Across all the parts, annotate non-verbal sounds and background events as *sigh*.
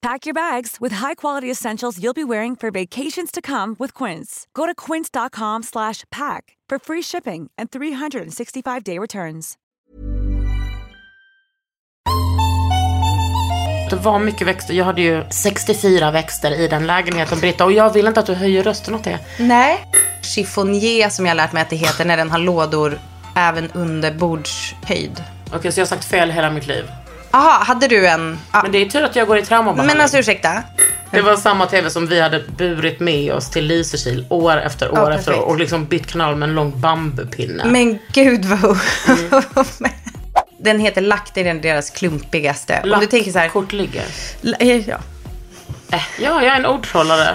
Pack your bags with high-quality essentials you'll be wearing for vacations to come with Quince. Go to quince.com/pack slash pack for free shipping and 365-day returns. Det var mycket växter. Jag hade ju 64 växter i den lägenheten Britta. Och jag vill inte att du höjer rösten åt det. Nej. Chiffonier som jag lärt mig att det heter när den har lådor även under bordshöjd. Okej, så jag har sagt fel hela mitt liv. Jaha, hade du en? Ja. Men det är tur att jag går i Men traumabehandling. alltså ursäkta. Det var samma TV som vi hade burit med oss till Lysekil år efter år Ja, efter år. perfekt. Och liksom bytt kanal med en lång bambupinne. Men gud vad... Mm. *laughs* den heter lack, det är den deras klumpigaste. Om du tänker så här... Kort ligger. Eh, La- eh, Ja. Ja, jag är en ordtrollare.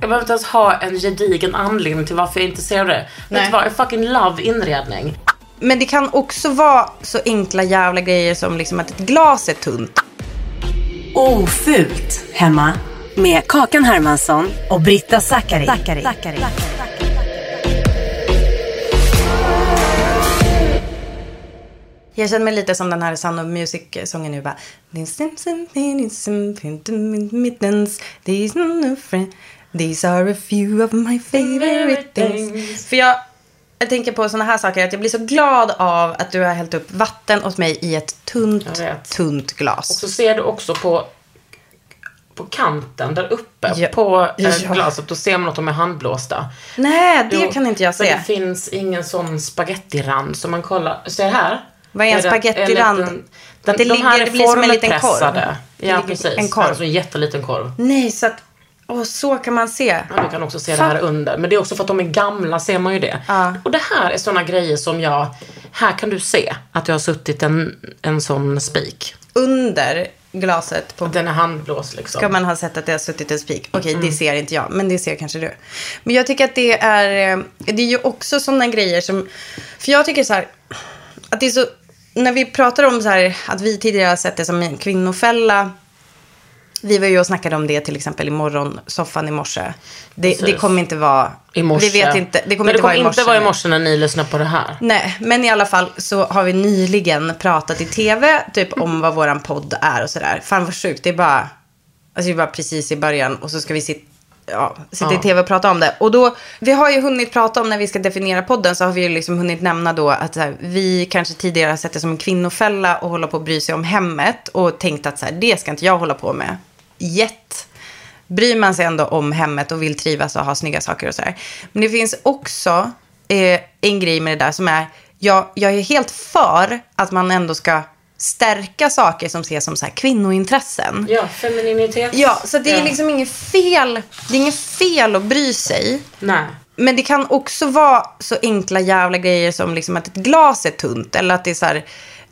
Jag behöver inte ens ha en gedigen anledning till varför jag är intresserad av det. Vet Nej. du vad? Jag fucking love inredning. Men det kan också vara så enkla jävla grejer som liksom att ett glas är tunt. Ofult hemma med Kakan Hermansson och Britta Zackari. Zackari. Jag känner mig lite som den här Sound of Music-sången nu bara... These are no friend- These are a few of my favorite things. För jag, jag tänker på såna här saker, att jag blir så glad av att du har hällt upp vatten åt mig i ett tunt, Jag vet. tunt glas. Så ser du också på, på kanten där uppe Ja. på eh, Ja. glaset. Då ser man att de är handblåsta. Nej, det Jo, kan inte jag för se. Det finns ingen sån spagettirand som man kollar. Ser här? Vad är en det spagettirand? liten- Den, Det de här ligger- är det blir som en liten korv. formpressade. Det Ja, ligger precis. en korv. Alltså en jätteliten korv. Nej, så att... Åh, så kan man se. Ja, du kan också se det här under. Men det är också för att de är gamla ser man ju det. Ja. Och det här är såna grejer som jag... Här kan du se att jag har suttit en, en sån spik. Under glaset på Den är handblåst liksom. Mm. ska man ha sett att det har suttit en spik. Okej, det ser inte jag, men det ser kanske du. Men jag tycker att det är, eh, det är ju också sådana grejer som, för jag tycker så här, att det är så, när vi pratar om så här, att vi tidigare har sett det som en kvinnofälla, vi var ju och snackade om det till exempel i morgonsoffan i morse. Det, det Precis. kommer inte vara... I morse. Vi vet inte. Det kommer Men inte vara i morse. vara i morse när ni lyssnar på det här. Nej, men i alla fall så har vi nyligen pratat i tv typ om vad våran podd är och sådär. Fan vad sjukt, det är bara, alltså det är bara precis i början och så ska vi sit, ja, sitta i Ja. tv och prata om det. Och då, vi har ju hunnit prata om när vi ska definiera podden så har vi ju liksom hunnit nämna då att så här, vi kanske tidigare har sett det som en kvinnofälla och hålla på att bry sig om hemmet och tänkt att så här, det ska inte jag hålla på med. Jätt. Bryr man sig ändå om hemmet och vill trivas och ha snygga saker och sådär. Men det finns också eh, en grej med det där som är, jag, jag är helt för att man ändå ska stärka saker som ses som så här kvinnointressen. Ja, femininitet. Ja, så det är liksom inget fel, det är inget fel att bry sig. Nej. Men det kan också vara så enkla jävla grejer som liksom att ett glas är tunt eller att det är så här,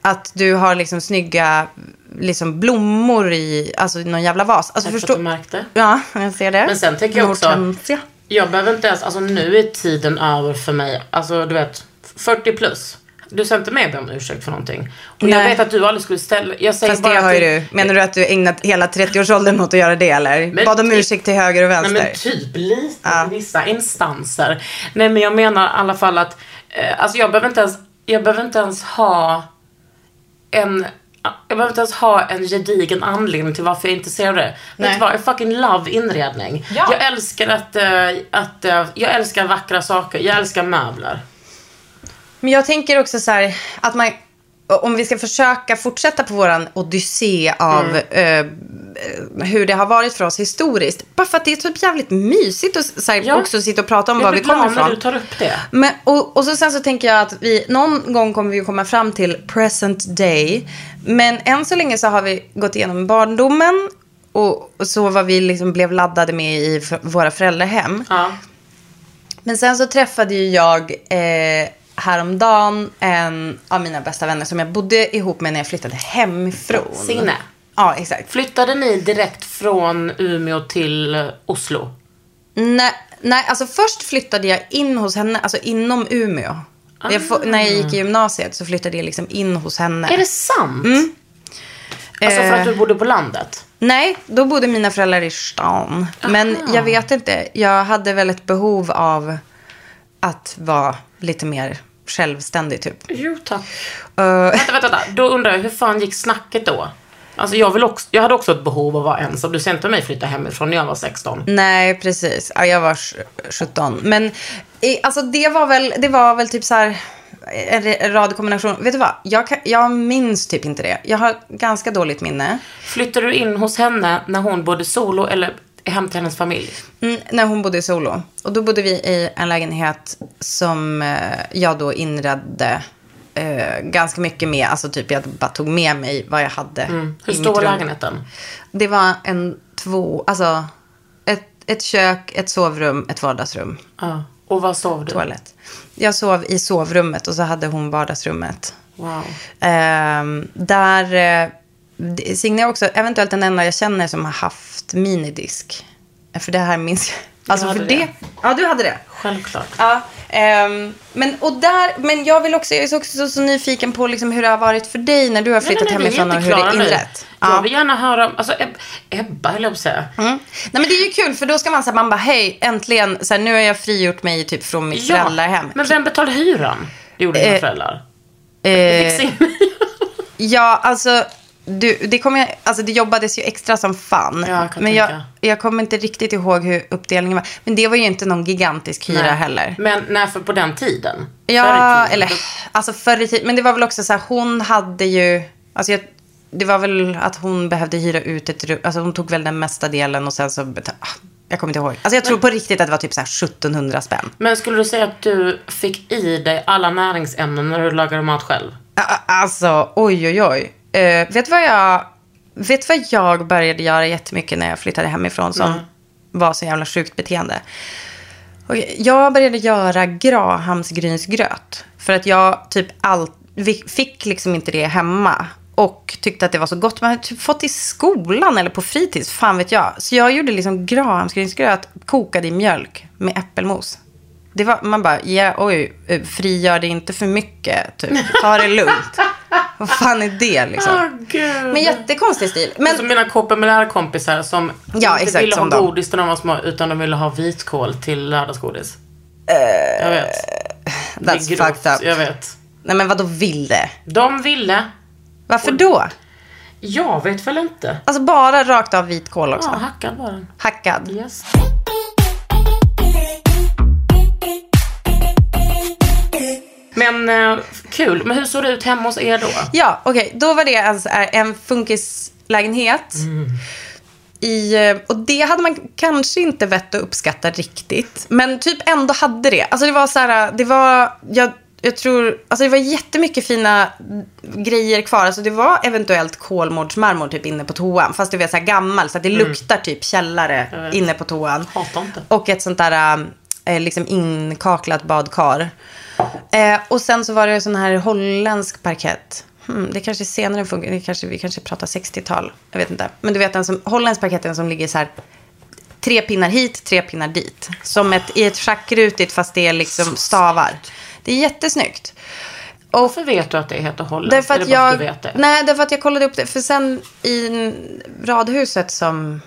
att du har liksom snygga liksom blommor i alltså i någon jävla vas. Alltså Tack för att förstå... du märkte. Ja, jag ser det. Men sen tänker jag också- Hortensia. Jag behöver inte ens, alltså nu är tiden över för mig, alltså du vet, 40 plus. Du ska inte med mig om ursäkt för någonting. Och jag Nej. vet att du aldrig skulle ställa, jag säger Fast bara det har ju att du. Menar du att du ägnat hela 30-årsåldern åt att göra det eller? Men Bad om typ- ursäkt till höger och vänster? Nej men typ lite i vissa instanser. Nej men jag menar i alla fall att, eh, alltså jag behöver inte ens jag behöver inte ens ha en jag behöver inte ens ha en gedigen anledning till varför jag är intresserad av det. Vet Nej. du vad? Jag fucking love inredning. Ja. Jag älskar att, eh, att eh, jag älskar vackra saker. Jag älskar möbler. Men jag tänker också så här att man, om vi ska försöka fortsätta på våran odyssé av Mm. eh, hur det har varit för oss historiskt. Bara för att det är typ jävligt mysigt att så här, Ja. också sitta och prata om Jag var blir vi kommer glad när ifrån. du tar upp det. Men, och, och så sen så tänker jag att vi någon gång kommer vi ju komma fram till present day. Men än så länge så har vi gått igenom barndomen och, och så vad vi liksom blev laddade med i f- våra föräldrahem. Ja. Men sen så träffade ju jag eh, häromdagen en av mina bästa vänner som jag bodde ihop med när jag flyttade hemifrån. Signe. Ja, exakt. Flyttade ni direkt från Umeå till Oslo? Nej, nej, alltså först flyttade jag in hos henne, alltså inom Umeå. Jag få, när jag gick i gymnasiet så flyttade jag liksom in hos henne. Är det sant? Alltså för Eh. att du bodde på landet? Nej, då bodde mina föräldrar i stan. Men jag vet inte. Jag hade väl ett behov av att vara lite mer självständig typ. Jo tack. Eh, Vänta, vänta, vänta. Då undrar jag, hur fan gick snacket då? Alltså jag, vill också, jag hade också ett behov av att vara ensam. Du ser inte mig flytta hemifrån när jag var 16. Nej, precis. Ja, jag var sj- 17. Men eh, alltså, det, var väl, det var väl typ så här en re- rad kombination. Vet du vad? Jag, kan, jag minns typ inte det. Jag har ganska dåligt minne. Flyttade du in hos henne när hon bodde solo eller hem till hennes familj? Mm, när hon bodde i solo. Och då bodde vi i en lägenhet som eh, jag då inredde eh, ganska mycket med. Alltså typ jag bara tog med mig vad jag hade Mm. Hur i stor mitt var rum. lägenheten? Det var en två, alltså ett, ett kök, ett sovrum, ett vardagsrum. Ja. Och var sov du? toalett. Jag sov i sovrummet och så hade hon vardagsrummet. Wow. Ehm, där, eh, det- Signe är också eventuellt den enda jag känner som har haft minidisk. För det här minns jag. Alltså hade för det. det. Ja, du hade det. Självklart. Ja, ehm, men, och där, men jag vill också, jag är så- också så, så nyfiken på liksom hur det har varit för dig när du har flyttat hemifrån och hur det är inrett. Jag Ja. vill gärna höra om, alltså Eb- Ebba höll jag på att säga. Mm. Nej men det är ju kul för då ska man säga, man bara hej äntligen, så här, nu har jag frigjort mig typ från mitt föräldrahem. men vem betalade hyran? Det gjorde dina föräldrar. Eh, Fixing. Ja, alltså, du, det, kom jag, alltså det jobbades ju extra som fan. Ja, jag kan men jag, tänka. jag kommer inte riktigt ihåg hur uppdelningen var. Men det var ju inte någon gigantisk hyra heller. Men när för på den tiden? Förr i Ja, tiden. eller alltså förr i tiden. Men det var väl också så här, hon hade ju, alltså jag, det var väl att hon behövde hyra ut ett rum, alltså hon tog väl den mesta delen och sen så, beta- ah, jag kommer inte ihåg. Alltså jag tror på riktigt att det var typ så här 1700 spänn. Men skulle du säga att du fick i dig alla näringsämnen när du lagade mat själv? Ah, ah, Alltså, oj oj oj. Eh, vet du vad jag... Vet vad jag började göra jättemycket när jag flyttade hemifrån som var så jävla sjukt beteende? Och jag började göra grahamsgrynsgröt. För att jag typ all, vi- fick liksom inte det hemma. Och tyckte att det var så gott. Man hade typ fått i skolan eller på fritids, fan vet jag. Så jag gjorde liksom grahamsgrynsgröt kokad i mjölk med äppelmos. Det var, man bara, ja, oj, eh, frigör det inte för mycket, typ. Ta *laughs* det lugnt. Vad fan är det liksom? gud. Men jättekonstig stil. Men, Alltså mina kompelärkompisar som Ja, inte exakt, ville ha som dem. godis när de var små utan de ville ha vitkål till lördagsgodis. jag vet. Det är Eh, that's fucked up. Jag vet. Nej men vadå ville? De ville. Varför då? Jag vet väl inte. Alltså bara rakt av vitkål Ja, också. hackad var den. Hackad. Yes. Men eh, kul. Men hur såg det ut hemma hos er då? Ja, okej. Då var det alltså en funkislägenhet. I, eh, och det hade man kanske inte vett att uppskatta riktigt. Men typ ändå hade det. Alltså det var så här, det var, jag, jag tror, alltså det var jättemycket fina grejer kvar. Alltså det var eventuellt kolmårdsmarmor typ inne på toan. Fast det var så här gammal så att det luktar typ källare inne på toan. Hatar inte. Och ett sånt där eh, liksom inkaklat badkar. Eh, och sen så var det sån här holländsk parkett. Hmm, det kanske är senare funkar, det kanske, vi kanske pratar 60-tal. Jag vet inte. Men du vet den som, holländsk parkett är den som ligger så här tre pinnar hit, tre pinnar dit. Som ett, i ett schackrutigt fast det är liksom stavar. Det är jättesnyggt. Och Varför vet du att det heter Holland? Därför att Eller bara jag, Du vet det? Nej, därför att jag kollade upp det. För sen i n- radhuset som,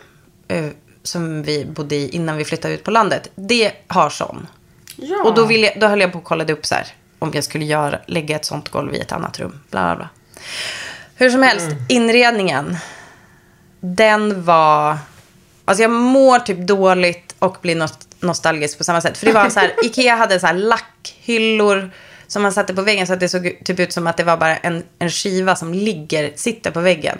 eh, som vi bodde i innan vi flyttade ut på landet, det har sån. Ja. Och då, ville jag, då höll jag på och kollade upp så här. om jag skulle göra, lägga ett sånt golv i ett annat rum. Bla, bla, bla. Hur som helst, inredningen. Den var... Alltså jag mår typ dåligt och blir nost- nostalgisk på samma sätt. För det var så här, Ikea hade så här lackhyllor som man satte på väggen så att det såg typ ut som att det var bara en, en skiva som ligger, sitter på väggen.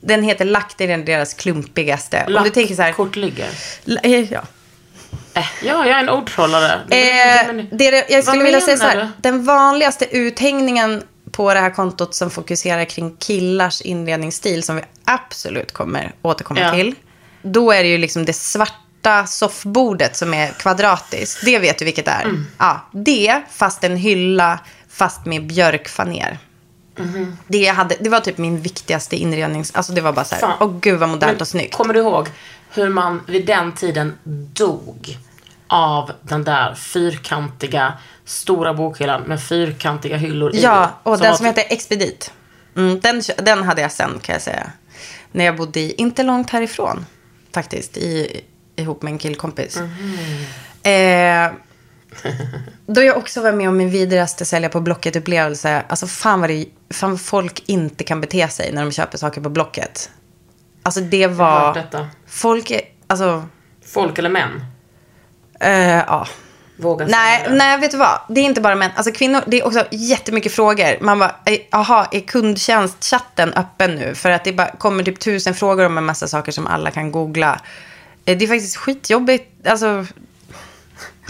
Den heter lack, det är den deras klumpigaste. Om du tänker så här... Kort ligger. La- eh, Ja. Äh, ja, jag är en ordtrollare. Eh, Men- det, det- jag skulle Vad vilja säga så menar här. Den vanligaste uthängningen på det här kontot som fokuserar kring killars inredningsstil som vi absolut kommer återkomma Ja. till. Då är det ju liksom det svarta soffbordet som är kvadratiskt. Det vet du vilket det är. Mm. Ja, det fast en hylla fast med björkfaner. Mhm. Det, jag hade, det var typ min viktigaste inrednings... Alltså det var bara så här, Fan. åh gud vad modernt Men och snyggt. Kommer du ihåg hur man vid den tiden dog av den där fyrkantiga stora bokhyllan med fyrkantiga hyllor i? Ja, och den var typ som heter Expedit. Mm, den, kö- den hade jag sen kan jag säga. När jag bodde i, inte långt härifrån faktiskt, i, ihop med en killkompis. Mhm. *laughs* Eh, då jag också var med om min vidrigaste sälja på Blocket-upplevelse. Alltså fan vad, det, fan vad folk inte kan bete sig när de köper saker på Blocket. Alltså det har hört var... detta. Folk är... Alltså... Folk eller män? Eh, ja. Våga Nej, säga det. nej, vet du vad? Det är inte bara män. Alltså kvinnor, det är också jättemycket frågor. Man bara, eh, jaha, är kundtjänstchatten öppen nu? För att det bara, kommer typ tusen frågor om en massa saker som alla kan googla. Eh, Det är faktiskt skitjobbigt. Alltså,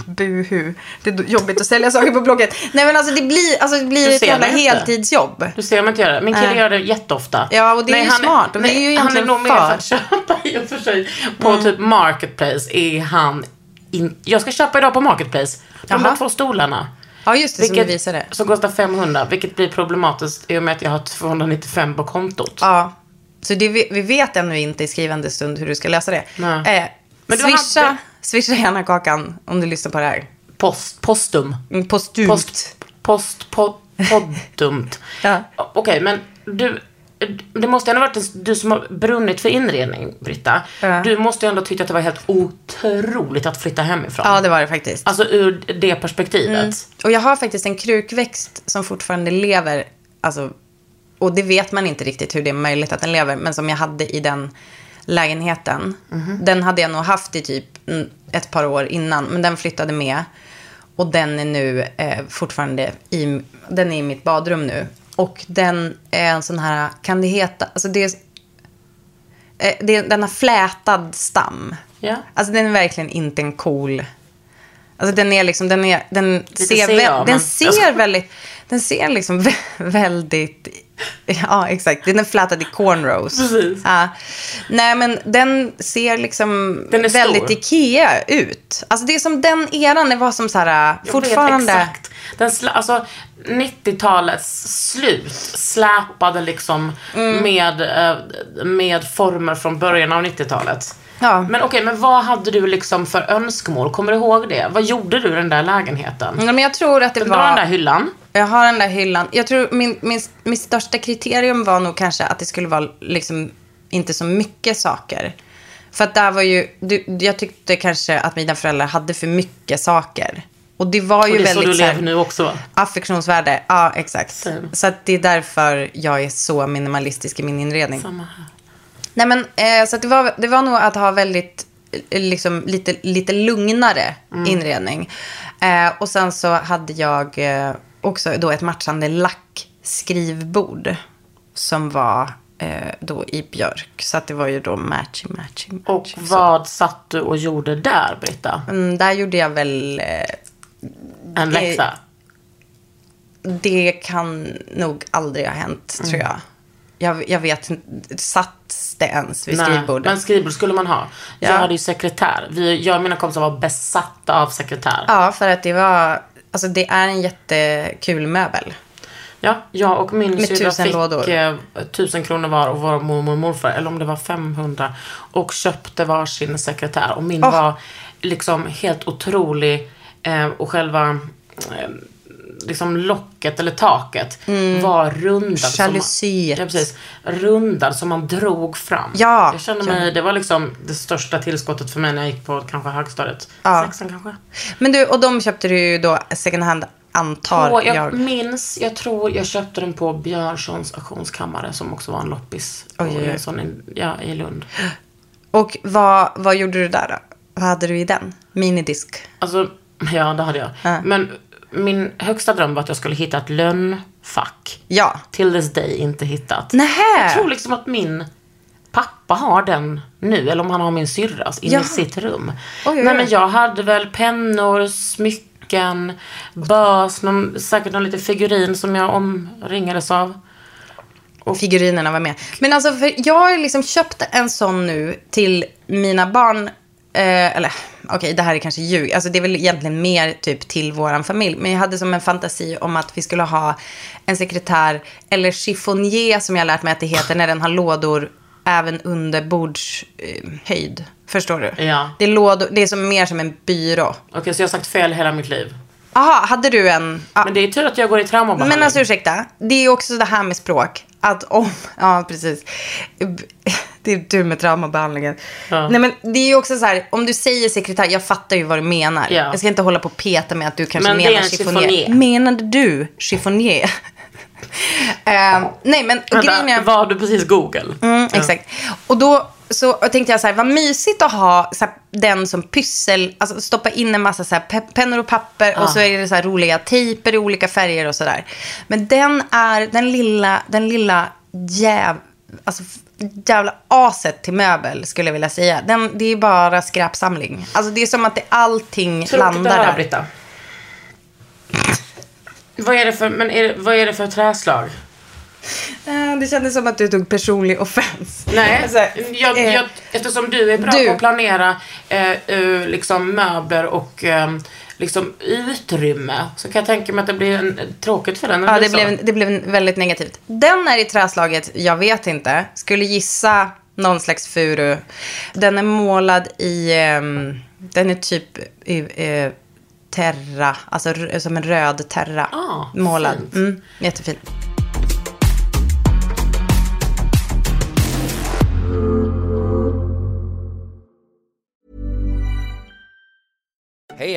buhu. Det är do- jobbigt att sälja saker på Blocket. Nej, men alltså det blir, alltså, det blir Du ett ser jävla mig inte. heltidsjobb. Du ser mig inte göra det. Min kille Nej. gör det jätteofta. Ja, och det är ju smart. Och nej, det är ju han är egentligen nog mer för att för. Mm. köpa i och för sig. På typ Marketplace är han... In... Jag ska köpa idag på Marketplace. De Jaha. där två stolarna. Ja, just det, som du visade. som kostar 500, vilket blir problematiskt i och med att jag har 295 på kontot. Ja. Så det, vi vi vet ännu inte i skrivande stund hur du ska lösa det. Nej. Eh, Men du swisha, hade- swisha gärna Kakan om du lyssnar på det här. Post, postum. Mm, Postumt. Post, post, po, poddumt. *laughs* Ja. Okej, men du, det måste ändå varit en, du som har brunnit för inredning, Britta. Ja. Du måste ju ändå tycka att det var helt otroligt att flytta hemifrån. Ja, Mm. det var det faktiskt. Alltså ur det perspektivet. Och jag har faktiskt en krukväxt som fortfarande lever. Alltså, och det vet man inte riktigt hur det är möjligt att den lever. Men som jag hade i den lägenheten. Mhm. Den hade jag nog haft i typ mm, ett par år innan. Men den flyttade med. Och den är nu eh, fortfarande i, den är i mitt badrum nu. Och den är en sån här, kan det heta, alltså det är, eh, det är, den har flätad stam. Ja. Alltså den är verkligen inte en cool Alltså den är liksom, den är, den ser, ser vä- jag, men- den ser väldigt, den ser liksom vä- *laughs* väldigt, ja exakt, den är flätad i cornrows. Precis. Ja. Nej men den ser liksom Den är stor. väldigt Ikea ut. Alltså det är som den eran, det var som så här, Jag vet fortfarande. Exakt. Den sla, alltså 90-talets slut släpade liksom Mm. med, eh, med former från början av 90-talet. Ja. Men okej, men vad hade du liksom för önskemål? Kommer du ihåg det? Vad gjorde du i den där lägenheten? Nej, men jag tror att det Det var... var den där hyllan. Jag har den där hyllan. Jag tror min, min, min största kriterium var nog kanske att det skulle vara liksom inte så mycket saker. För att där var ju, du, jag tyckte kanske att mina föräldrar hade för mycket saker. Och det var ju Och det är så väldigt du så här- lever nu också va? affektionsvärde. Ja, exakt. Same. Så att det är därför jag är så minimalistisk i min inredning. Samma här. Nej men, eh, så att det, var, det var nog att ha väldigt, eh, liksom lite, lite lugnare Mm. inredning. Eh, och sen så hade jag eh, också då ett matchande lackskrivbord. Som var eh, då i björk. Så att det var ju då matching, matching, Och matching. vad satt du och gjorde där Britta? Mm, där gjorde jag väl, eh, En läxa? Eh, det kan nog aldrig ha hänt Mm. tror jag. jag. Jag vet inte, satts det ens vid skrivbordet? men skrivbord skulle man ha. Ja. Jag hade ju sekretär. Vi, jag och mina kompisar var besatta av sekretär. Ja, för att det var... Alltså det är en jättekul möbel. Ja, jag och min Med syrra tusen fick lådor. eh, tusen kronor var och vår mormor och morfar, eller om det var 500, och köpte varsin sekretär. Och min var liksom helt otrolig eh, och själva eh, liksom locket eller taket Mm. var rundad. som man- Jalusiet. Ja, precis. Rundad som man drog fram. Ja. Jag kände mig, det var liksom det största tillskottet för mig när jag gick på kanske högstadiet. Ja. Sexan kanske. Men du, och de köpte du ju då second hand antar På, jag, jag. minns, jag tror jag köpte den på Björnssons auktionskammare som också var en loppis. Oj, oj, oj. Och en sån i, ja, i Lund. Och vad, vad gjorde du där då? Vad hade du i den? Minidisk. Alltså, ja det hade jag. Ja. Men min högsta dröm var att jag skulle hitta ett lönnfack. Ja. Till this day inte hittat. Nähä! Jag tror liksom att min pappa har den nu, eller om han har min syrras, inne Ja. i sitt rum. Oj, oj, oj. Nej men jag hade väl pennor, smycken, bös, någon, säkert någon liten figurin som jag omringades av. Figurinerna var med. Men alltså, för jag har liksom köpt en sån nu till mina barn. Eh, eller okej, det här är kanske ljug. Alltså, det är väl egentligen mer typ till våran familj. Men jag hade som en fantasi om att vi skulle ha en sekretär eller chiffonier som jag har lärt mig att det heter när den har lådor även under bordshöjd. Förstår du? Ja. Det är, lådor, det är som mer som en byrå. Okej, så jag har sagt fel hela mitt liv. Aha, hade du en... ja. Men det är tur att jag går i traumabehandling. Men alltså ursäkta, det är också det här med språk. Att om, *laughs* ja precis. Det är tur med traumabehandlingen. Ja. Nej men det är ju också så här, om du säger sekretär, jag fattar ju vad du menar. Ja. Jag ska inte hålla på och peta med att du kanske Men det är menar en chiffonier. chiffonier. Menade du chiffonier? *laughs* Eh, nej men grejen är... Vänta, var du precis Google? Mm, Exakt. Och då så tänkte jag så här, vad mysigt att ha så här, den som pyssel, alltså stoppa in en massa så här, pe- pennor och papper och så är det så här roliga tejper i olika färger och sådär. Men den är den lilla, den lilla jäv, alltså f- jävla aset till möbel skulle jag vilja säga. Den, det är bara skräpsamling. Alltså det är som att det, allting Tråkigt att landar höra, där. Britta. Vad är det för, men är det, vad är det för träslag? Eh, Det kändes som att du tog personlig offens. Nej, Alltså, jag, eh, jag, eftersom du är bra du. på att planera eh, eh, liksom möbler och eh, liksom utrymme så kan jag tänka mig att det blir en, tråkigt för den. Ja, eller det så. blev, det blev väldigt negativt. Den är i träslaget, jag vet inte. Skulle gissa någon slags furu. Den är målad i, ehm, den är typ i, eh, terra, alltså r- som en röd terra. Ah, målad. fint. Mm, jättefin. Hey,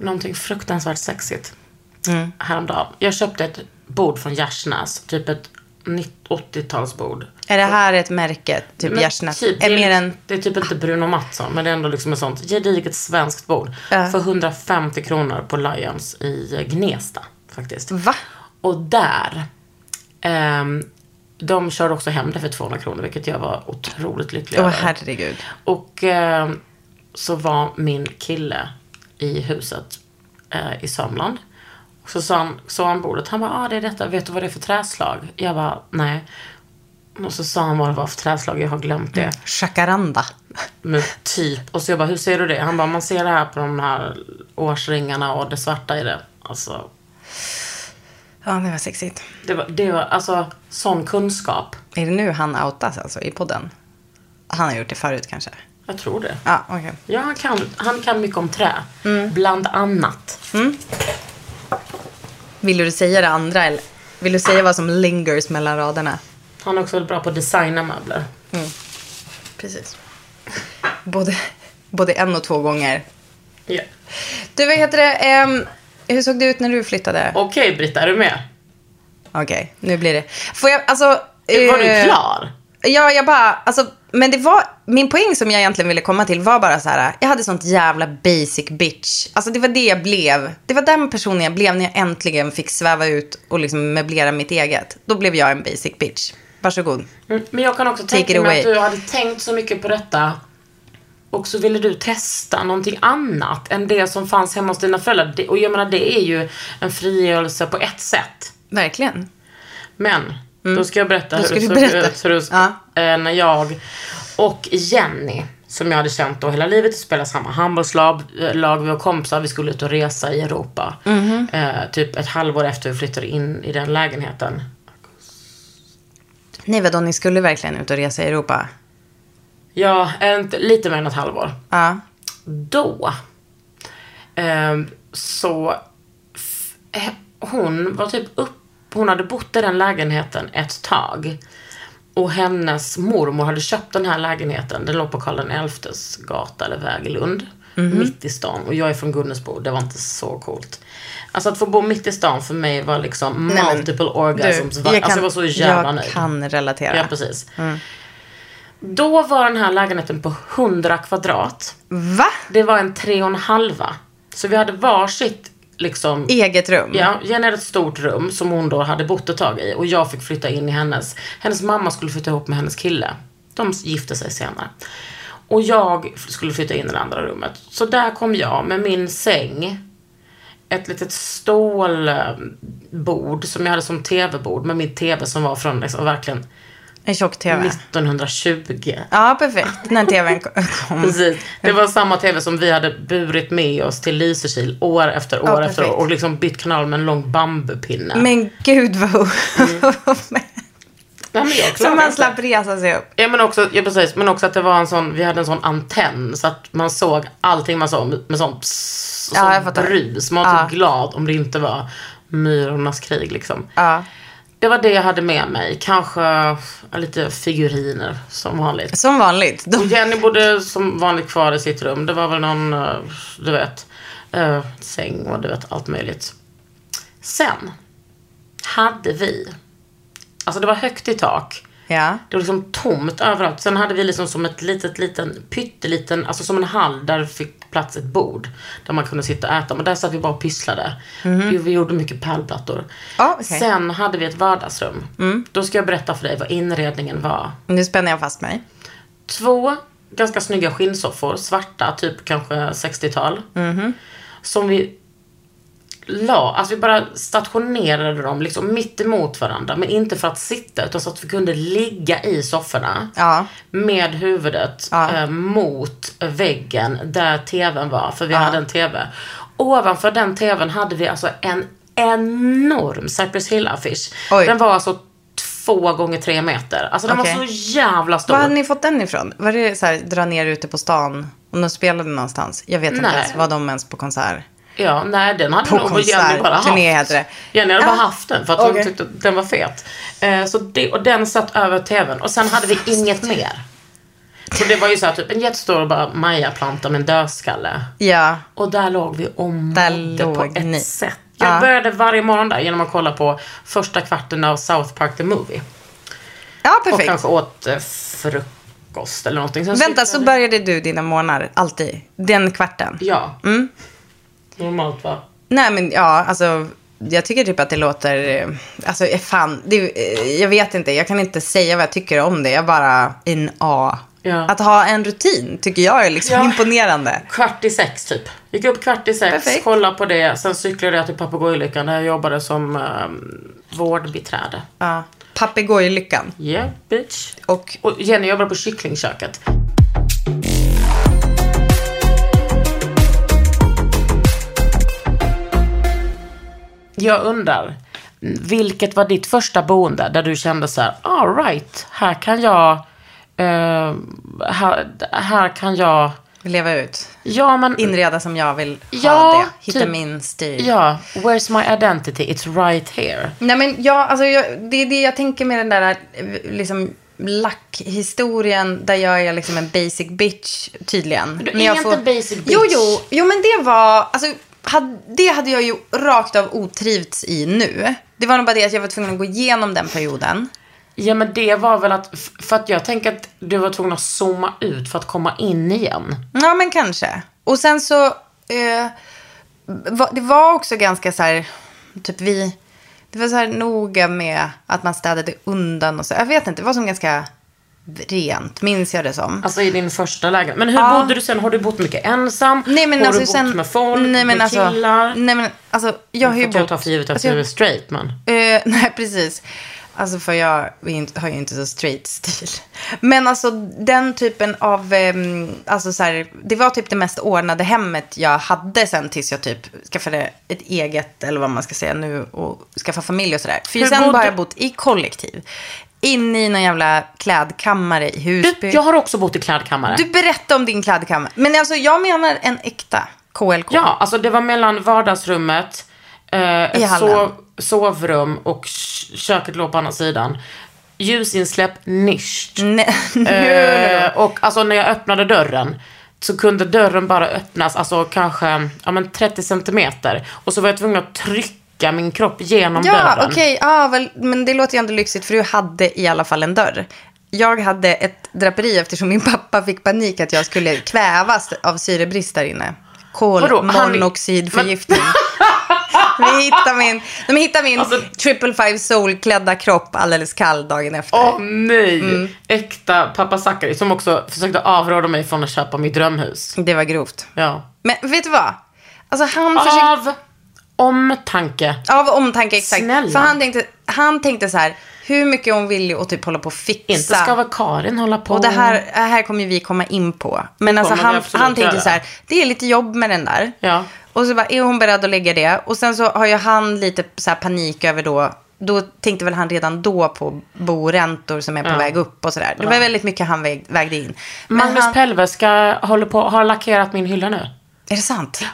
Någonting fruktansvärt sexigt. Mm. Häromdagen. Jag köpte ett bord från Gärsnäs. Typ ett 90- 80-talsbord. Är det här ett märke? Typ Men Gärsnäs? typ, det, är är, mer en, det är typ inte Bruno Mattsson, men det är ändå liksom ett sånt gediget svenskt bord. Ja. För 150 kronor på Lions i Gnesta, faktiskt. va? Och där, ehm, de körde också hem det för 200 kronor, vilket jag var otroligt lycklig Åh över. herregud. Och ehm, så var min kille i huset eh, i Sörmland. Och så sa han, såg han bordet, han bara, ah, det är detta, vet du vad det är för träslag? Jag bara, nej. Och så sa han vad det var för träslag, jag har glömt det. Jacaranda. Men typ. Och så jag bara, hur ser du det? Han bara, man ser det här på de här årsringarna och det svarta i det. Alltså, Ja, det var sexigt. det var, det var alltså sån kunskap. Är det nu han outas alltså i podden? Han har gjort det förut kanske? Jag tror det. Ja, okej. Ja, han kan, han kan mycket om trä. Bland annat. Vill du säga det andra eller? Vill du säga vad som lingers mellan raderna? Han är också väldigt bra på att designa möbler. Precis. Både, både en och två gånger. Ja. Du, vad heter det? Ehm, hur såg det ut när du flyttade? Okej, Britta, är du med? Okej, nu blir det. Får jag, alltså... Var du eh, klar? Ja, jag bara, alltså, men det var, min poäng som jag egentligen ville komma till var bara så här, jag hade sånt jävla basic bitch. Alltså det var det jag blev. Det var den personen jag blev när jag äntligen fick sväva ut och liksom möblera mitt eget. Då blev jag en basic bitch. Varsågod. Mm, Men jag kan också Take tänka it mig att away. du hade tänkt så mycket på detta och så ville du testa någonting annat än det som fanns hemma hos dina föräldrar. Det- Och jag menar, det är ju en frigörelse på ett sätt. Verkligen. Men, då ska jag berätta Mm. Då ska hur det du såg berätta. ut. Hur det, Ja. eh, när jag och Jenny, som jag hade känt då hela livet, spelade samma handbollslag, eh, lag, vi var kompisar, vi skulle ut och resa i Europa. Mhm. Eh, typ ett halvår efter vi flyttade in i den lägenheten. Nej, vadå, ni skulle verkligen ut och resa i Europa? Ja, inte, lite mer än ett halvår. Ja. då ehm, så f- he- hon var typ upp, hon hade bott i den lägenheten ett tag och hennes mormor hade köpt den här lägenheten. Den låg på Karl XIs gata eller väg i Lund. Mhm. Mitt i stan. Och jag är från Gunnesbo. Det var inte så coolt. Alltså att få bo mitt i stan för mig var liksom Nej, men multiple orgasms. var- alltså jag var så jävla jag nöjd. kan relatera. Ja, precis. Då var den här lägenheten på 100 kvadrat. Va? Det var en tre och en halva. Så vi hade varsitt liksom... Eget rum? Ja, Jenny hade ett stort rum som hon då hade bott ett tag i och jag fick flytta in i hennes. Hennes mamma skulle flytta ihop med hennes kille. De gifte sig senare. Och jag f- skulle flytta in i det andra rummet. Så där kom jag med min säng. Ett litet stålbord som jag hade som tv-bord med min tv som var från liksom, verkligen En tjock-tv? 1920. Ja, perfekt. När tvn kom. Precis. Det Mm. var samma TV som vi hade burit med oss till Lysekil år efter år efter år. Ja, perfekt. Och liksom bytt kanal med en lång bambupinne. Men gud *laughs* vad... Mm. Nej, men jag Så klarar man inte. slapp resa sig upp. Ja men också, ja, precis, men också att det var en sån, vi hade en sån antenn så att man såg allting man såg med, med sån pss, och Ja, jag sån fattar. brus. Man var typ glad om det inte var myrornas krig liksom. Ja. Det var det jag hade med mig, kanske ja, lite figuriner som vanligt. Som vanligt. Och De... Jenny bodde som vanligt kvar i sitt rum. Det var väl någon, eh, du vet, eh, säng och du vet, allt möjligt. Sen hade vi, alltså det var högt i tak. Ja. Det var liksom tomt överallt. Sen hade vi liksom som ett litet, liten, pytteliten, alltså som en hall där det fick plats ett bord. Där man kunde sitta och äta. Men där satt vi bara och pysslade. Vi, vi gjorde mycket pärlplattor. Mhm. Ja, okej. Mm. Sen hade vi ett vardagsrum. Då ska jag berätta för dig vad inredningen var Nu spänner jag fast mig. två ganska snygga skinnsoffor, svarta, typ kanske 60-tal. Mhm. Som vi la, alltså vi bara stationerade dem liksom mitt emot varandra. Men inte för att sitta, utan så att vi kunde ligga i sofforna. Ja. Med huvudet Ja. eh, mot väggen där tvn var, för vi hade en tv. Ovanför den tvn hade vi alltså en enorm Cypress Hill-affisch. Oj. Den var alltså två gånger tre meter. Alltså den var Okej. så jävla stor. Var hade ni fått den ifrån? Var det så här, dra ner ute på stan? Om de spelade någonstans? Jag vet inte Nej. ens. Var de ens på konsert? Ja, nej den hade På nog Jenny konsert, bara haft. turné heter det. Jenny hade bara Ah. haft den för att hon Okej. tyckte att den var fet. Eh, så det, och den satt över tvn och sen hade vi inget mer. Så det var ju så här, typ en jättestor bara Maja-planta med en dödskalle. Ja. Och där låg vi och Där mådde på låg ett ni. sätt. Jag Ja. började varje morgon där genom att kolla på första kvarten av South Park The Movie. Ja, Och perfekt. kanske åt eh, frukost eller någonting. Sen Vänta, cyklade så vi- började du dina månader alltid? Den kvarten? Ja. Mm. Normalt va? Nej, men ja, alltså. Jag tycker typ att det låter... eh, Alltså, eh, fan. Det, eh, jag vet inte. Jag kan inte säga vad jag tycker om det. Jag bara... In A. Ja. Att ha en rutin tycker jag är liksom Ja. imponerande. Kvart i sex typ. Gick upp kvart i sex, Perfekt. kollade på det. Sen cyklade jag till Papagoylyckan där jag jobbade som eh, ehm, vårdbiträde. Ja. Papegojlyckan. Yeah, bitch. Och, och Jenny jobbar på kycklingköket. Jag undrar, vilket var ditt första boende där du kände så här, all right, här kan jag, eh, här, här kan jag, Leva ut. ja men, Inreda som jag vill ha Ja, det. Hitta typ. min stil. ja, where's my identity? It's right here. Nej men jag, alltså jag, det är det jag tänker med den där eh, liksom lackhistorien där jag är liksom en basic bitch tydligen. Du är Men jag inte en basic bitch. Jo, jo, jo men det var, alltså had, det hade jag ju rakt av otrivts i nu. Det var nog bara det att jag var tvungen att gå igenom den perioden. Ja men det var väl att, f- för att jag tänker att du var tvungen att zooma ut för att komma in igen. Ja, men kanske. Och sen så... Eh, va, det var också ganska så här... Typ vi... Det var så här noga med att man städade undan och så. Jag vet inte, det var som ganska rent, minns jag det som. Alltså i din första lägenhet. Men hur Ja. bodde du sen? Har du bott mycket ensam? Nej men har alltså du bott sen... med folk? nej, men med alltså, killar? Nej men alltså, jag har ju För att jag bott... tar för givet att alltså, du är jag, straight men. eh, *laughs* nej, precis. Alltså för jag är inte- har ju inte så straight stil. Men alltså den typen av, ehm, alltså så här, det var typ det mest ordnade hemmet jag hade sen tills jag typ skaffade ett eget, eller vad man ska säga nu, och skaffa familj och sådär. För Hur sen bodde- har jag bott i kollektiv. Inne i någon jävla klädkammare i Husby. Du, jag har också bott i klädkammare. Du berättade om din klädkammare. Men alltså jag menar en äkta KLK. Ja, alltså det var mellan vardagsrummet, eh, I ett hallen. sov, sovrum och k- köket låg på andra sidan. Ljusinsläpp, nischt. *laughs* Nej, nu, nu, Eh, och alltså när jag öppnade dörren så kunde dörren bara öppnas, alltså kanske ja, men 30 centimeter. Och så var jag tvungen att trycka min kropp genom Ja, dörren. okej. Ja, väl, men det låter ju ändå lyxigt för du hade i alla fall en dörr. Jag hade ett draperi eftersom min pappa fick panik att jag skulle kvävas av syrebrist där inne. Vadå? Han- *laughs* Kolmonoxidförgiftning. Vi hittar min, de hittar min Alltså- triple five soul-klädda kropp alldeles kall dagen efter. Åh nej! Mm. Äkta pappa Zackari som också försökte avråda mig från att köpa mitt drömhus. Det var grovt. Ja. Men vet du vad? Alltså han försökte... Av omtanke. Av omtanke, exakt. Snälla. För han tänkte, han tänkte så här, hur mycket hon vill ju och typ hålla på och fixa. Inte ska väl Karin hålla på. Och det här, det här kommer ju vi komma in på. Men alltså kommer vi han, absolut han tänkte göra. så här, det är lite jobb med den där. Ja. Och så bara, är hon beredd att lägga det? Och sen så har ju han lite så här panik över då, då tänkte väl han redan då på boräntor som är på väg upp och sådär. Det var väldigt mycket han väg, vägde in. Men Magnus han, Pelve ska, håller på, har lackerat min hylla nu. är det sant?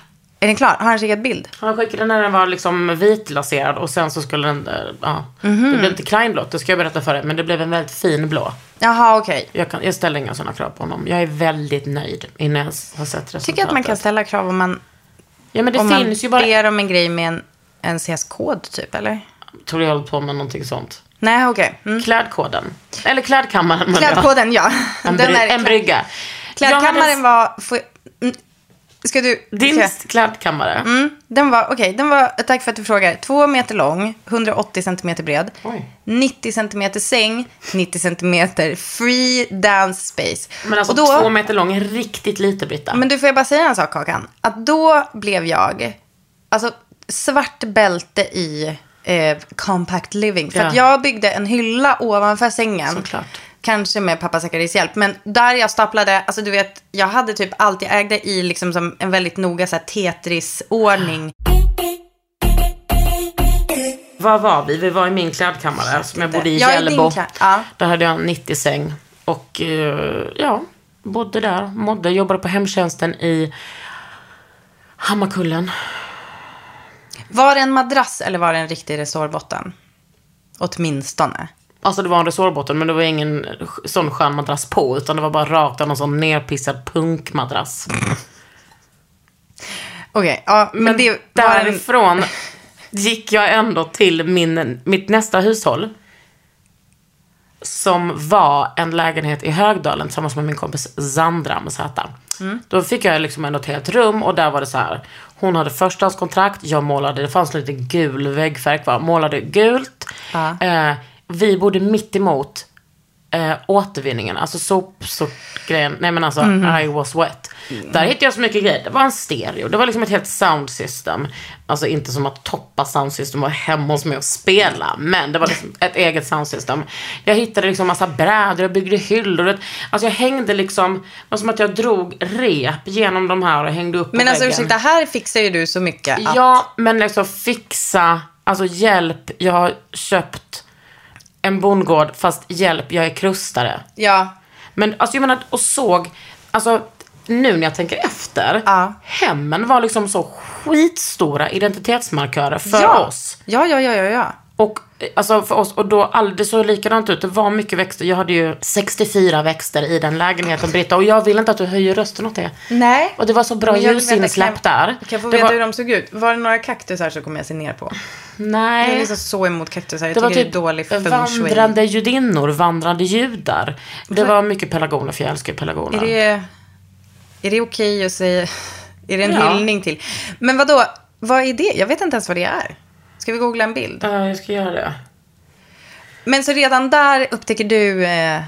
Är den klar? Har han skickat bild? Han skickade när den var liksom vitlaserad och sen så skulle den, eh, ja. Mhm. Det blev inte kleinblått, det ska jag berätta för dig. Men det blev en väldigt fin blå. Jaha, okej. Jag, kan, jag ställer inga sådana krav på honom. Jag är väldigt nöjd innan jag ens har sett resultatet. Jag tycker att man kan ställa krav om man, Ja men det om man finns ju bara... ber om en grej med en, en CS-kod typ, eller? Tror jag håller på med någonting sånt. Nej, okej. Mm. Klädkoden. Eller klädkammaren. menar jag. Klädkoden, ja. En, Den bry- är- en brygga. Jag Klädkammaren hade- var... Får, mm, ska du... Din ska- klädkammare. Mm, den var, okej, den var, tack för att du frågar, två meter lång, 180 centimeter bred, Oj. 90 centimeter säng, 90 centimeter free dance space. Men alltså Och då- två meter lång är riktigt lite Britta. men du, får jag bara säga en sak, Kakan? Att då blev jag, alltså, svart bälte i eh, compact living. För att Ja. jag byggde en hylla ovanför sängen. Såklart. Kanske med pappa Zackaris hjälp. Men där jag staplade, alltså du vet, jag hade typ allt jag ägde i liksom som en väldigt noga så här Tetris-ordning. Var var vi? Vi var i min klädkammare som jag inte. bodde i Jag är i din Hjällbo. klä- ja. Där hade jag en 90-säng. Och eh, ja, bodde där, mådde, jobbade på hemtjänsten i Hammarkullen. Var det en madrass eller var det en riktig resårbotten? Åtminstone. Alltså det var en resårbotten men det var ingen sk- sån skön madrass på utan det var bara rakt av någon sån nerpissad punkmadrass. Okej, ja, men, Men det var en... därifrån gick jag ändå till min, mitt nästa hushåll. Som var en lägenhet i Högdalen tillsammans med min kompis Sandra med Z. Mm. Då fick jag liksom ändå ett helt rum och där var det så här. Hon hade förstahandskontrakt, jag målade, det fanns lite gul väggfärg kvar, målade gult. Eh, vi bodde mitt emot eh, återvinningen, alltså sopsortgrejen. Nej men alltså Mhm. I was wet. Där hittade jag så mycket grejer. Det var en stereo, det var liksom ett helt sound system. Alltså inte som att toppa sound system var hemma hos mig och spela. Men det var liksom ett eget sound system. Jag hittade liksom massa brädor, jag byggde hyllor. Alltså jag hängde liksom, det var som att jag drog rep genom de här och hängde upp på Men alltså väggen. ursäkta, här fixar ju du så mycket att... Ja, men liksom fixa, alltså hjälp, jag har köpt en bondgård fast hjälp, jag är krustare. Ja. Men alltså jag menar, och såg, alltså nu när jag tänker efter, Ja. hemmen var liksom så skitstora identitetsmarkörer för ja. oss. Ja, ja, ja, ja, ja. Och, eh, alltså för oss, och då, all, det såg likadant ut. Det var mycket växter. Jag hade ju 64 växter i den lägenheten, Britta. Och jag vill inte att du höjer rösten åt det. Nej. Och det var så bra Men jag vill veta, ljusinsläpp kan där. jag- Kan jag få Det veta var- hur de såg ut? Var det några kaktusar så kommer jag se ner på. Nej. Jag är liksom så emot kaktusar. Jag Det var tycker typ det är dålig feng shui. vandrande judinnor, vandrande judar. Det var mycket pelargoner, för jag älskar ju pelargoner. Är det, är det okej att säga... Är det en Ja. hyllning till? Men vad då? Vad är det? Jag vet inte ens vad det är. Ska vi googla en bild? Ja, jag ska göra det. Men så redan där upptäcker du... Eh,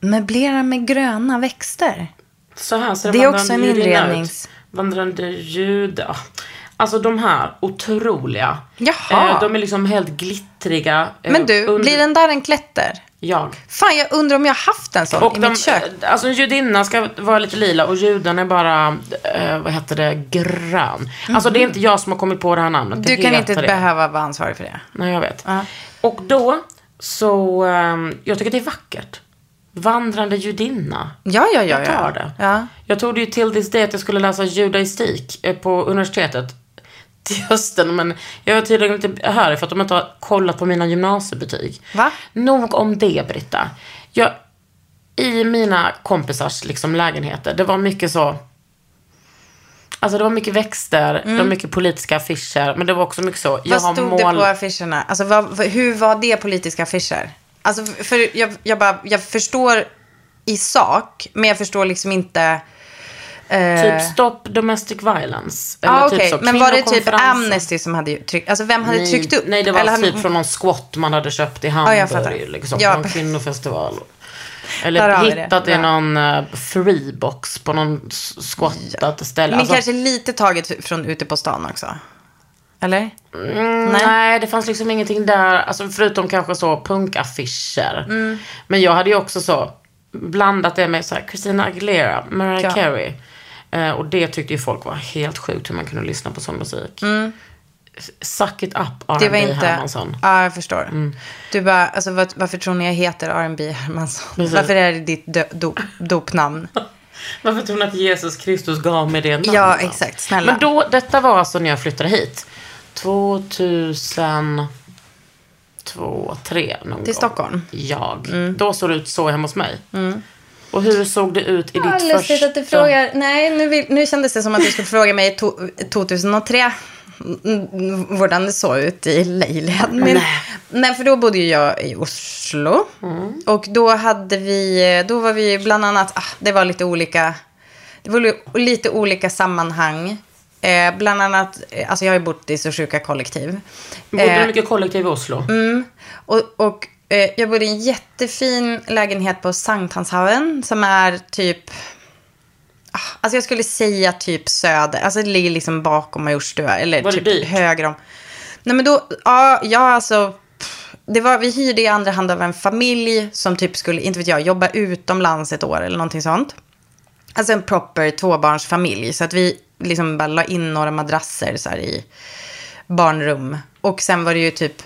möblera med gröna växter. Så här ser Det är vandrande också en judinna inrednings- ut. Vandrande judar. Alltså de här otroliga. Jaha. Eh, de är liksom helt glittriga. eh, Men du, under- blir den där en klätter? Jag. Fan, jag undrar om jag har haft en sån Och i de, mitt kök. alltså judinnan ska vara lite lila och juden är bara, eh, vad heter det, grön. Alltså det är inte jag som har kommit på det här namnet. Mhm. Du det kan heter inte det. behöva vara ansvarig för det. Nej, jag vet. Och då, så, ehm, jag tycker det är vackert. Vandrande judinna. Ja, ja, ja. Jag ja. tar det. Ja. Jag tog det ju till this day att jag skulle läsa judaistik eh, på universitetet *laughs* till hösten. Men jag var tydligen inte här för att de inte har kollat på mina gymnasiebetyg. Va? Nog om det, Britta. Jag, I mina kompisars liksom, lägenheter, det var mycket så... Alltså det var mycket växter, det var mycket politiska affischer, men det var också mycket så, jag Mm. Vad har stod mål... det på affischerna? Alltså, vad, vad- hur var det politiska affischer? Alltså, f- för jag, jag, bara, jag förstår i sak, men jag förstår liksom inte... eh, Typ stopp domestic violence. ah, okej. så, Men var det typ kvinnokonferensen. Amnesty som hade ju tryckt... Alltså vem hade nej, tryckt upp? Nej, det var Eller hade- typ från någon skott man hade köpt i Ja, Hamburg. jag fattar. liksom, Ja. Någon kvinnofestival. Där Eller har vi det. hittat i Ja. någon eh, freebox på någon s- skottat ställe. Men Alltså, kanske lite taget från ute på stan också? Eller? mm, nej. det fanns liksom ingenting där. Alltså, förutom kanske så punkaffischer. Mm. Men jag hade ju också så blandat det med så här, Christina Aguilera, Mariah Ja. Carey. Eh, och det tyckte ju folk var helt sjukt hur man kunde lyssna på sån musik. Suck it up Mm. Det var R&B inte... Hermansson. Mm. Ja, jag förstår. Du bara, alltså, vad, varför tror ni jag heter R&B Hermansson? Precis. Varför är det ditt dö, dop, *laughs* dopnamn? Varför tror ni att Jesus Kristus gav mig det namnet? Ja, exakt. Snälla. Men då, detta var alltså när jag flyttade hit. 2002, 3 någon Till Stockholm? Mm. Jag. Då såg det ut så hemma hos mig. Och hur såg det ut i ditt första... Nej, nu, vill, nu kändes det som att du skulle fråga mig to, 2003. Hurdan det såg ut i Lejled. Men, nej, för då bodde ju jag i Oslo. Mm. Och då hade vi, då var vi bland annat, ah, det var lite olika, det var li- lite olika sammanhang. Eh, bland annat, eh, alltså jag har ju bott i så sjuka kollektiv. Bodde du Eh, mycket kollektiv i Oslo? typ och, och eh, jag bodde i en jättefin lägenhet på Sankthanshaven som är typ... ah, Alltså jag skulle säga typ söder. Alltså det ligger liksom bakom Majorstua. Eller Var det typ dyrt? höger om. Nej men då, ja, ja alltså. pff, Det var, vi hyrde i andra hand av en familj som typ skulle, inte vet jag, jobba utomlands ett år eller någonting sånt. Alltså en proper tvåbarnsfamilj. Så att vi liksom bara la in några madrasser så här i barnrum. Och sen var det ju typ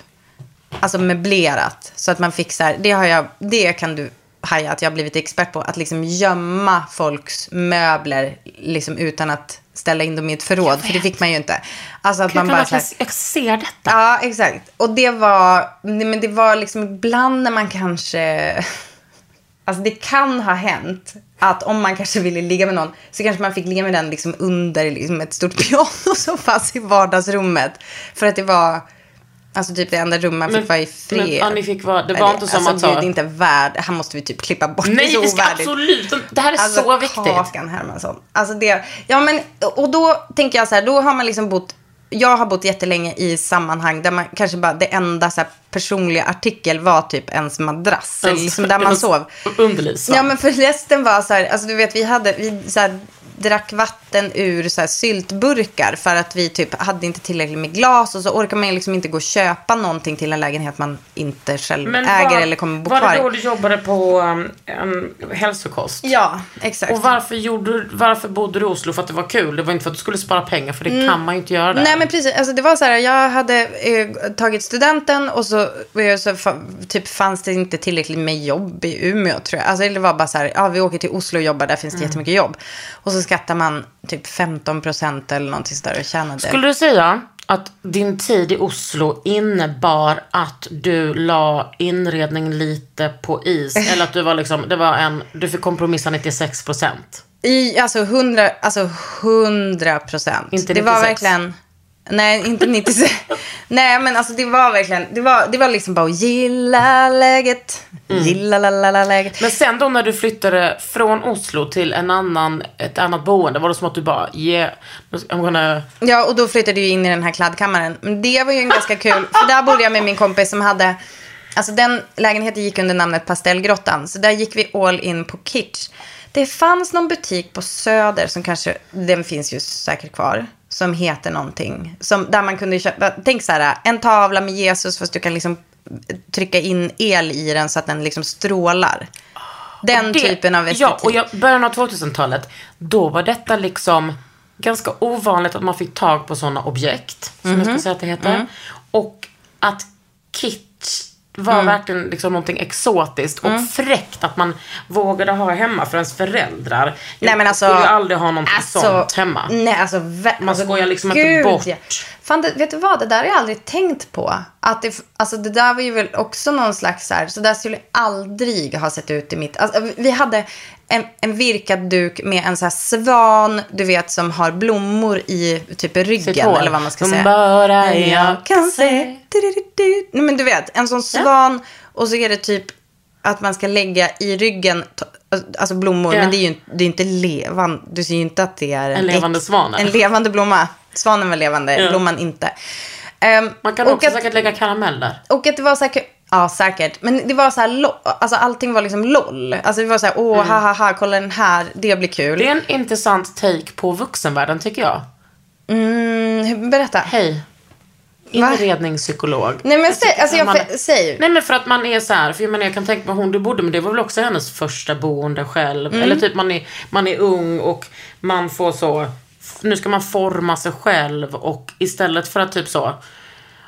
alltså möblerat. Så att man fick så här, det, har jag, det kan du haja att jag har blivit expert på. Att liksom gömma folks möbler liksom utan att ställa in dem i ett förråd. För det fick man ju inte. Alltså att jag, man kan bara så här, verkligen, jag ser detta. Ja, exakt. Och det var, nej, men det var liksom ibland när man kanske, *laughs* alltså det kan ha hänt att om man kanske ville ligga med någon så kanske man fick ligga med den liksom under liksom ett stort *laughs* piano som fanns i vardagsrummet. För att det var, alltså typ det enda rum man fick vara i fred. men, ja, ni fick vara, det Nej, var inte som alltså, att så- Gud, det är inte värd, här måste vi typ klippa bort, det är Nej, så vi ska ovärdigt. absolut inte- Det här är Alltså, så viktigt. Kakan Hermansson. Alltså det, ja men, och då tänker jag så här, då har man liksom bott jag har bott jättelänge i sammanhang där man kanske bara, det enda så här, personliga artikel var typ ens madrass. eller Ens- liksom där man ens sov. underlivsval. Ja men för resten var så här, alltså du vet vi hade, vi så här, drack vatten ur så här, syltburkar för att vi typ hade inte tillräckligt med glas och så orkar man ju liksom inte gå och köpa någonting till en lägenhet man inte själv äger var, eller kommer bo Var kvar det i. då du jobbade på um, en hälsokost? Ja, exakt. Och varför, gjorde, du- varför bodde du i Oslo? För att det var kul? Det var inte för att du skulle spara pengar, för det kan man ju inte göra där. Mm. Nej men precis, alltså det var så här, jag hade eh, tagit studenten och så, eh, så fa, typ fanns det inte tillräckligt med jobb i Umeå tror jag. Alltså det var bara så här, ja vi åker till Oslo och jobbar, där finns det Mm. jättemycket jobb. Och så skattar man typ 15% eller någonting sådär och tjänade. Skulle du säga att din tid i Oslo innebar att du la inredning lite på is? *laughs* Eller att du var liksom, det var en, du fick kompromissa 96 procent? I, alltså 100, alltså 100 procent. Inte Det var 96. verkligen, nej inte 96. *laughs* nej men alltså det var verkligen, det var, det var liksom bara att gilla läget, Mm. gilla la la la läget. Men sen då när du flyttade från Oslo till en annan, ett annat boende, var det som att du bara yeah, I'm gonna... Ja, och då flyttade jag in i den här kladdkammaren. Men det var ju en ganska kul, för där bodde jag med min kompis som hade, alltså den lägenheten gick under namnet Pastellgrottan, så där gick vi all in på kitsch. Det fanns någon butik på Söder som kanske, den finns ju säkert kvar, som heter någonting. Som, där man kunde köpa, tänk så här, en tavla med Jesus fast du kan liksom trycka in el i den så att den liksom strålar. Den Ah, Det- typen av Ja, estetik. och jag, början av 2000-talet, då var detta liksom ganska ovanligt att man fick tag på sådana objekt, som jag Mhm. ska säga att det heter. Och att kitsch var Mm. verkligen liksom någonting exotiskt och fräckt att man vågade ha hemma för ens föräldrar. Nej, men alltså- Jag skulle ju aldrig ha någonting Alltså, sånt hemma. Nej, alltså, vä- Man alltså, skojar liksom inte bort. ja. Fan, det, vet du vad? Det där har jag aldrig tänkt på. Att det, alltså, det där var ju väl också någon slags så här, så där skulle jag aldrig ha sett ut i mitt... Alltså, vi- vi hade en, en virkad duk med en så här svan, du vet, som har blommor i typ ryggen Sitt hår. eller vad man ska Som säga. bara Men jag kan se. Du-du-du-du. Nej, men du vet, en sån svan och så är det typ att man ska lägga i ryggen, to- alltså blommor, Ja. men det är ju det är ju inte levande, du ser ju inte att det är En levande äck- svan, eller? En levande blomma. Svanen var levande, Ja. blomman inte. Ehm, Man kan och också att, säkert lägga karameller. Och att det var säkert... Ja, säkert. Men det var så här, lo- alltså allting var liksom LOL. Alltså det var så här, åh, ha, ha, ha, kolla den här, det blir kul. Mm. Det är en intressant take på vuxenvärlden tycker jag. Mm, berätta. Hej. Va? Inredningspsykolog. Nej men Jag säg, tycker alltså att jag, man- för, säg. Nej men för att man är så här, för jag menar jag kan tänka mig hon du bodde med, det var väl också hennes första boende själv. Mm. Eller typ man är, man är ung och man får så, nu ska man forma sig själv och istället för att typ så,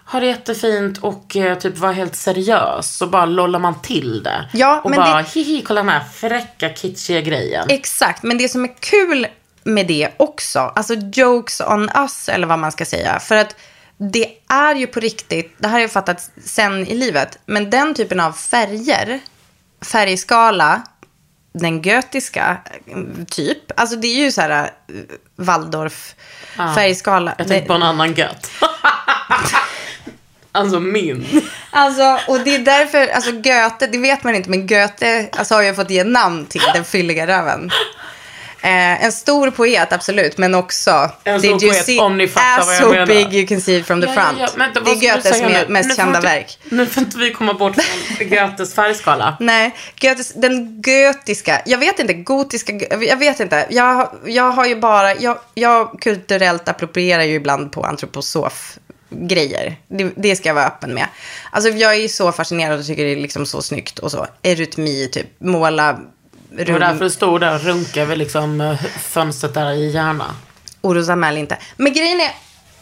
ha det jättefint och eh, typ vara helt seriös så bara lollar man till det. Ja, och men bara det- hihi kolla den här fräcka kitschiga grejen. Exakt, men det som är kul med det också, alltså jokes on us eller vad man ska säga. För att det är ju på riktigt, det här har jag fattat sen i livet, men den typen av färger, färgskala, den götiska eh, typ, alltså det är ju så här eh, Waldorf färgskala. Jag tänkte på en annan gött. *laughs* alltså min. Alltså, och det är därför, alltså Göte, det vet man inte, men Göte alltså, har ju fått ge namn till den fylliga röven. Eh, en stor poet, absolut, men också... En did stor you poet, see om ni fattar ass vad jag so menar. big you can see it from the front. men det vad skulle är du Götes säga me- nu? mest Nu får kända inte- verk. Nu får inte vi komma bort *laughs* från Goethes färgskala. Nej, Goethes, den götiska, jag vet inte, gotiska, jag vet inte. Jag, jag har ju bara, jag, jag kulturellt approprierar ju ibland på antroposof-grejer. Det, det ska jag vara öppen med. Alltså jag är ju så fascinerad och tycker det är liksom så snyggt och så. Erytmi, typ, måla Det var därför rum, du stod där och runkade vid liksom eh, fönstret där i Järna. orosanmäl inte. Men grejen är,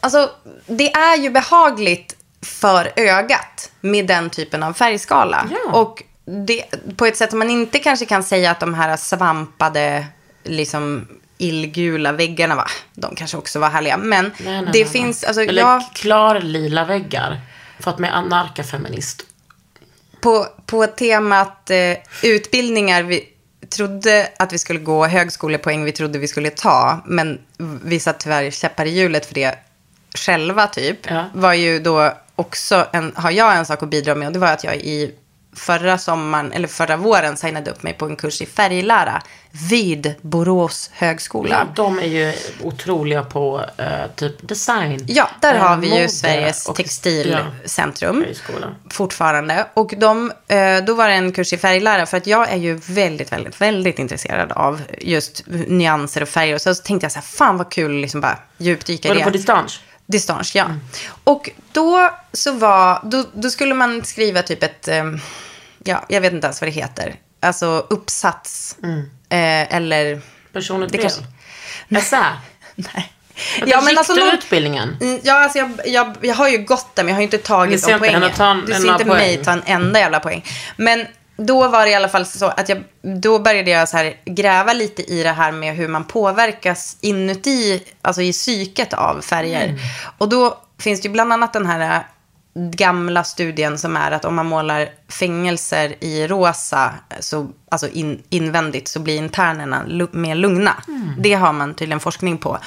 alltså det är ju behagligt för ögat med den typen av färgskala. Ja. Och det, på ett sätt som man inte kanske kan säga att de här svampade, liksom illgula väggarna, va? de kanske också var härliga. Men Nej, nej, det nej, nej. finns, alltså Eller jag... klarlila väggar. För att man är anarkafeminist. på, på temat eh, utbildningar vi trodde att vi skulle gå, högskolepoäng vi trodde vi skulle ta, men vi satt tyvärr käppar i hjulet för det själva typ, Ja. var ju då också en, har jag en sak att bidra med och det var att jag i förra sommaren, eller förra våren signade upp mig på en kurs i färglära vid Borås högskola. Ja, de är ju otroliga på eh, typ design. Ja, där Eh, har vi ju mode Sveriges och- textilcentrum Högskola. fortfarande. Och de, eh, då var det en kurs i färglära för att jag är ju väldigt, väldigt, väldigt intresserad av just nyanser och färger. Och så tänkte jag så här, fan vad kul att liksom bara djupdyka Var i det det. på Mm. distans? Distans, ja. Och då så var, då, då skulle man skriva typ ett, ehm, ja, jag vet inte ens vad det heter. Alltså uppsats Mm. eh, *laughs* eller... Personligt Det brev? kanske- *laughs* Essä? Nej. Ja, men alltså... någon- utbildningen? Mm, Ja, alltså jag, jag, jag har ju gått den, men jag har ju inte Ni tagit ser de inte poängen. henne ta en- du en ser inte poäng. mig ta en enda jävla poäng. Men då var det i alla fall så att jag, då började jag så här gräva lite i det här med hur man påverkas inuti, alltså i psyket av färger. Mm. Och då finns det ju bland annat den här äh, gamla studien som är att om man målar fängelser i rosa, så, alltså in, invändigt, så blir internerna lu- mer lugna. Mm. Det har man tydligen forskning på.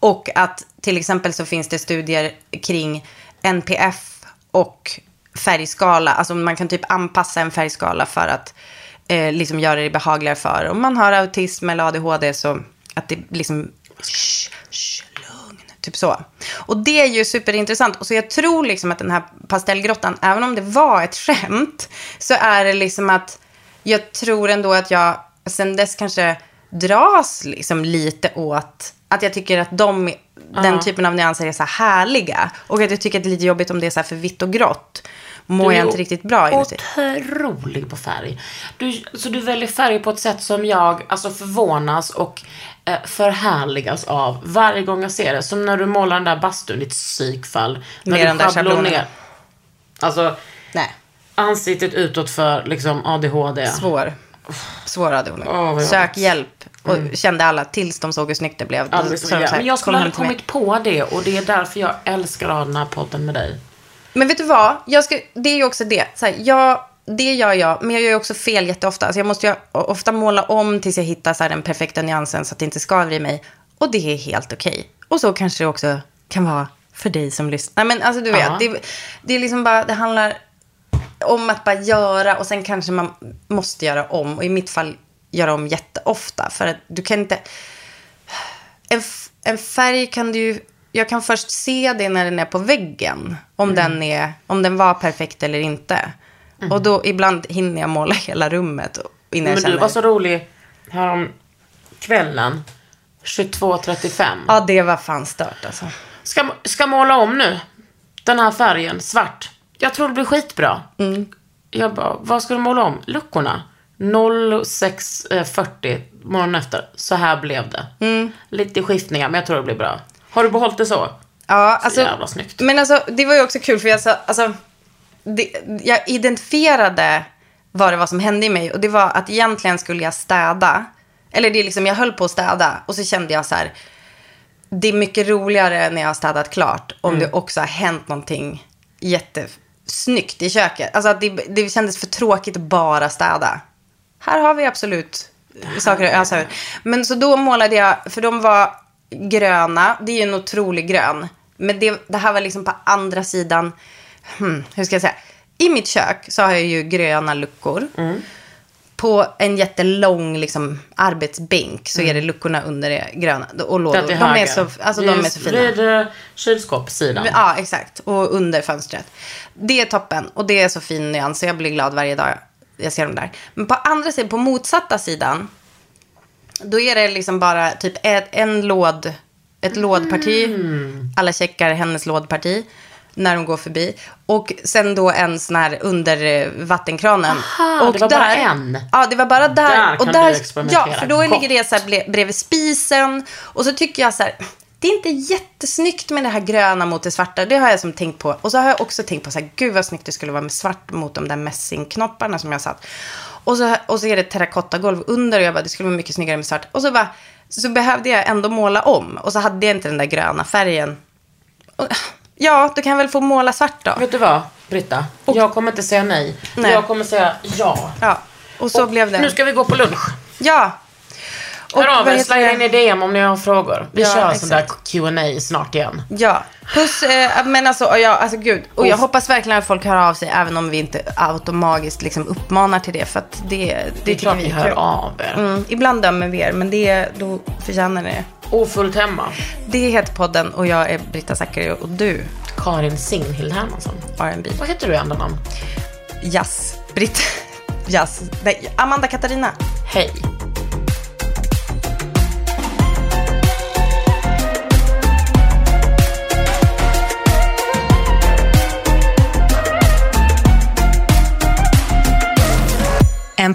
Och att till exempel så finns det studier kring NPF och färgskala. Alltså man kan typ anpassa en färgskala för att eh, liksom göra det behagligare för. Om man har autism eller ADHD så att det liksom... Shh, shh, lugn. Typ så. Och det är ju superintressant. Och så jag tror liksom att den här pastellgrottan, även om det var ett skämt, så är det liksom att jag tror ändå att jag sen dess kanske dras liksom lite åt att jag tycker att de, den typen av nyanser är så här härliga. Och att jag tycker att det är lite jobbigt om det är så här för vitt och grått. Mår jag inte riktigt bra inuti. Otrolig på färg. Du, så du väljer färger på ett sätt som jag alltså förvånas och eh, förhärligas av varje gång jag ser det. Som när du målar den där bastun, ditt psykfall. När Med den du där schablonerar. schablonen. Alltså, Nej, ansiktet utåt för liksom ADHD. svår. Svår ADHD. Åh, vad Sök hjälp. Och kände alla tills de såg hur snyggt det blev. Ja, Då det sa ska de så jag. här, Men jag "Kom skulle hem aldrig till mig." kommit på det och det är därför jag älskar att ha den här podden med dig. Men vet du vad? Jag ska, det är ju också det. Så här, jag, det gör jag, men jag gör ju också fel jätteofta. Alltså jag måste ju ofta måla om tills jag hittar så här den perfekta nyansen så att det inte skaver i mig. Och det är helt okej. Och så kanske det också kan vara för dig som lyssnar. Nej, men alltså du vet, Ja. det, det är liksom bara, det handlar om att bara göra och sen kanske man måste göra om. Och i mitt fall göra om jätteofta. För att du kan inte... En, f- en färg kan du ju... Jag kan först se det när den är på väggen. Om, Mm. den, är, om den var perfekt eller inte. Och då ibland hinner jag måla hela rummet och- innan Men jag känner... du var så rolig härom kvällen 22.35. Ja, det var fan stört alltså. Ska, ska måla om nu. Den här färgen, svart. Jag tror det blir skitbra. Mm. Jag bara, vad ska du måla om? Luckorna. 06.40 morgonen efter. Så här blev det. Mm. Lite skiftningar, men jag tror det blir bra. Har du behållit det så? Ja, Så alltså, jävla snyggt. Men alltså, det var ju också kul för jag, sa, alltså, det, jag identifierade vad det var som hände i mig. Och det var att egentligen skulle jag städa. Eller det är liksom, jag höll på att städa. Och så kände jag så här, det är mycket roligare när jag har städat klart. Om det också har hänt någonting jättesnyggt i köket. Alltså att det, det kändes för tråkigt att bara städa. Här har vi absolut saker att ösa ur. Men så då målade jag, för de var gröna. Det är ju en otrolig grön. Men det, det här var liksom på andra sidan. Hmm, hur ska jag säga? I mitt kök så har jag ju gröna luckor. På en jättelång liksom, arbetsbänk så är Mm. det luckorna under det gröna. Och lådor. Där De till är höger. så, alltså, de Vid- är så fina. Vid eh, kylskåpssidan. Ja, exakt. Och under fönstret. Det är toppen. Och det är så fin nyans. Så jag blir glad varje dag jag ser dem där. Men på andra sidan, på motsatta sidan. Då är det liksom bara typ ett, en låd. Mm. Ett lådparti. Alla checkar hennes lådparti. När de går förbi. Och sen då en sån här under eh, vattenkranen. Aha, och det var bara en. Ja, det var bara där. Där och kan där du experimentera. Ja, för då ligger Gott. det det så här ble- bredvid spisen. Och så tycker jag så här, det är inte jättesnyggt med det här gröna mot det svarta. Det har jag som tänkt på. Och så har jag också tänkt på så här, gud vad snyggt det skulle vara med svart mot de där mässingknopparna som jag satt. Och så, och så är det ett terrakottagolv under och jag bara, det skulle vara mycket snyggare med svart. Och så bara, så behövde jag ändå måla om. Och så hade jag inte den där gröna färgen. Och, ja, då kan jag väl få måla svart då. Vet du vad, Britta? jag kommer inte säga nej. Nej. Jag kommer säga ja. Ja, och så blev det. Nu ska vi gå på lunch. Ja. Och Hör av vad er, heter slida det? in i DM om ni har frågor. Vi Ja, kör sån där Q&A snart igen. Ja, puss. Eh, men alltså, ja, alltså gud. Och jag hoppas verkligen att folk hör av sig även om vi inte automatiskt liksom uppmanar till det. För att det, det, Det är tycker klart vi ni är hör kul. av er. Mm, ibland dömer vi er, men det, då förtjänar ni det. Ofullt hemma. Det heter podden och jag är Britta Zackari och du, Karin Singhild Hermansson. R&B. Vad heter du i andra namn? Jazz. Britt. *laughs* Jazz. Nej, Amanda Katarina. Hej. En